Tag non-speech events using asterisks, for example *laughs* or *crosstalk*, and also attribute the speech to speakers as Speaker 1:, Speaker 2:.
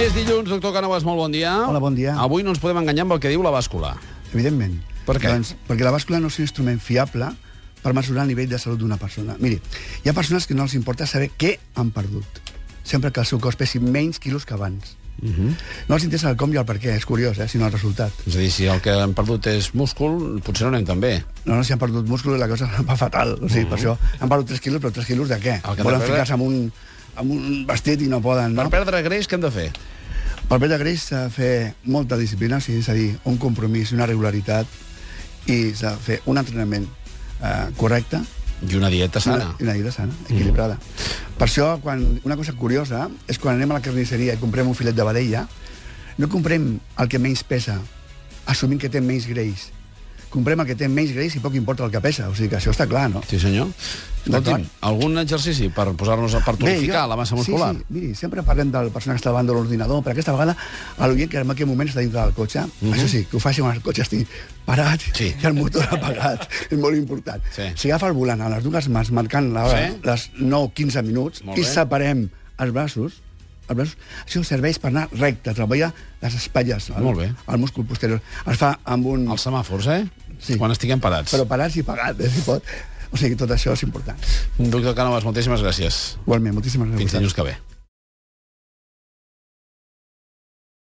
Speaker 1: És dilluns, doctor Cànovas, molt bon dia.
Speaker 2: Hola, bon dia.
Speaker 1: Avui no ens podem enganyar amb el que diu la bàscula.
Speaker 2: Evidentment.
Speaker 1: Per què?
Speaker 2: Doncs, perquè la bàscula no és un instrument fiable per mesurar el nivell de salut d'una persona. Miri, hi ha persones que no els importa saber què han perdut, sempre que el seu cos pesi menys quilos que abans. Uh
Speaker 1: Mhm.
Speaker 2: -huh. No els interessa el com i el per què, és curiós, eh, sinó el resultat.
Speaker 1: És a dir, si el que hem perdut és múscul, potser no anem tan bé.
Speaker 2: No, no, si han perdut múscul la cosa *laughs* va fatal. O sigui, uh -huh. per això han perdut 3 quilos, però 3 quilos de què?
Speaker 1: Mhm. El que
Speaker 2: Volen
Speaker 1: de perdre-
Speaker 2: ficar-se amb un, amb un vestit i no poden,
Speaker 1: Per
Speaker 2: no?
Speaker 1: perdre greix, què hem de fer?
Speaker 2: Per Pere Greix s'ha de fer molta disciplina, o sigui, és a dir, un compromís, una regularitat, i s'ha de fer un entrenament eh, correcte,
Speaker 1: I una dieta sana.
Speaker 2: i una vida sana, equilibrada. Mm. Per això, quan, una cosa curiosa és quan anem a la carnisseria i comprem un filet de vedella, no comprem el que menys pesa, assumint que té menys greix. Comprem el que té menys greix i poc importa el que pesa. O sigui que això està clar, no?
Speaker 1: Sí, senyor. Escolti'm,
Speaker 2: D'acord.
Speaker 1: algun exercici per posar-nos a per tonificar la massa muscular?
Speaker 2: Sí, sí, miri, sempre parlem de la persona que està davant de l'ordinador, però aquesta vegada a l'oient que en aquell moment està dintre del cotxe, mm -hmm. això sí, que ho faci quan el cotxe estigui parat
Speaker 1: Mhm. Sí.
Speaker 2: i el motor *laughs* apagat, és molt important.
Speaker 1: Sí.
Speaker 2: Si agafa el volant a les dues mans marcant l'hora,
Speaker 1: Sí.
Speaker 2: les 9-15 minuts,
Speaker 1: Molt
Speaker 2: i
Speaker 1: bé.
Speaker 2: separem els braços, els braços, això serveix per anar recte, treballar les espatlles, el,
Speaker 1: Molt bé.
Speaker 2: el múscul posterior. Es fa amb un...
Speaker 1: Els semàfors, eh?
Speaker 2: Sí.
Speaker 1: Quan estiguem parats.
Speaker 2: Però parats i pagats, eh, si pot. O sigui, tot això és important.
Speaker 1: Doctor Cànovas, moltíssimes gràcies.
Speaker 2: Igualment, moltíssimes gràcies.
Speaker 1: Fins dilluns que ve.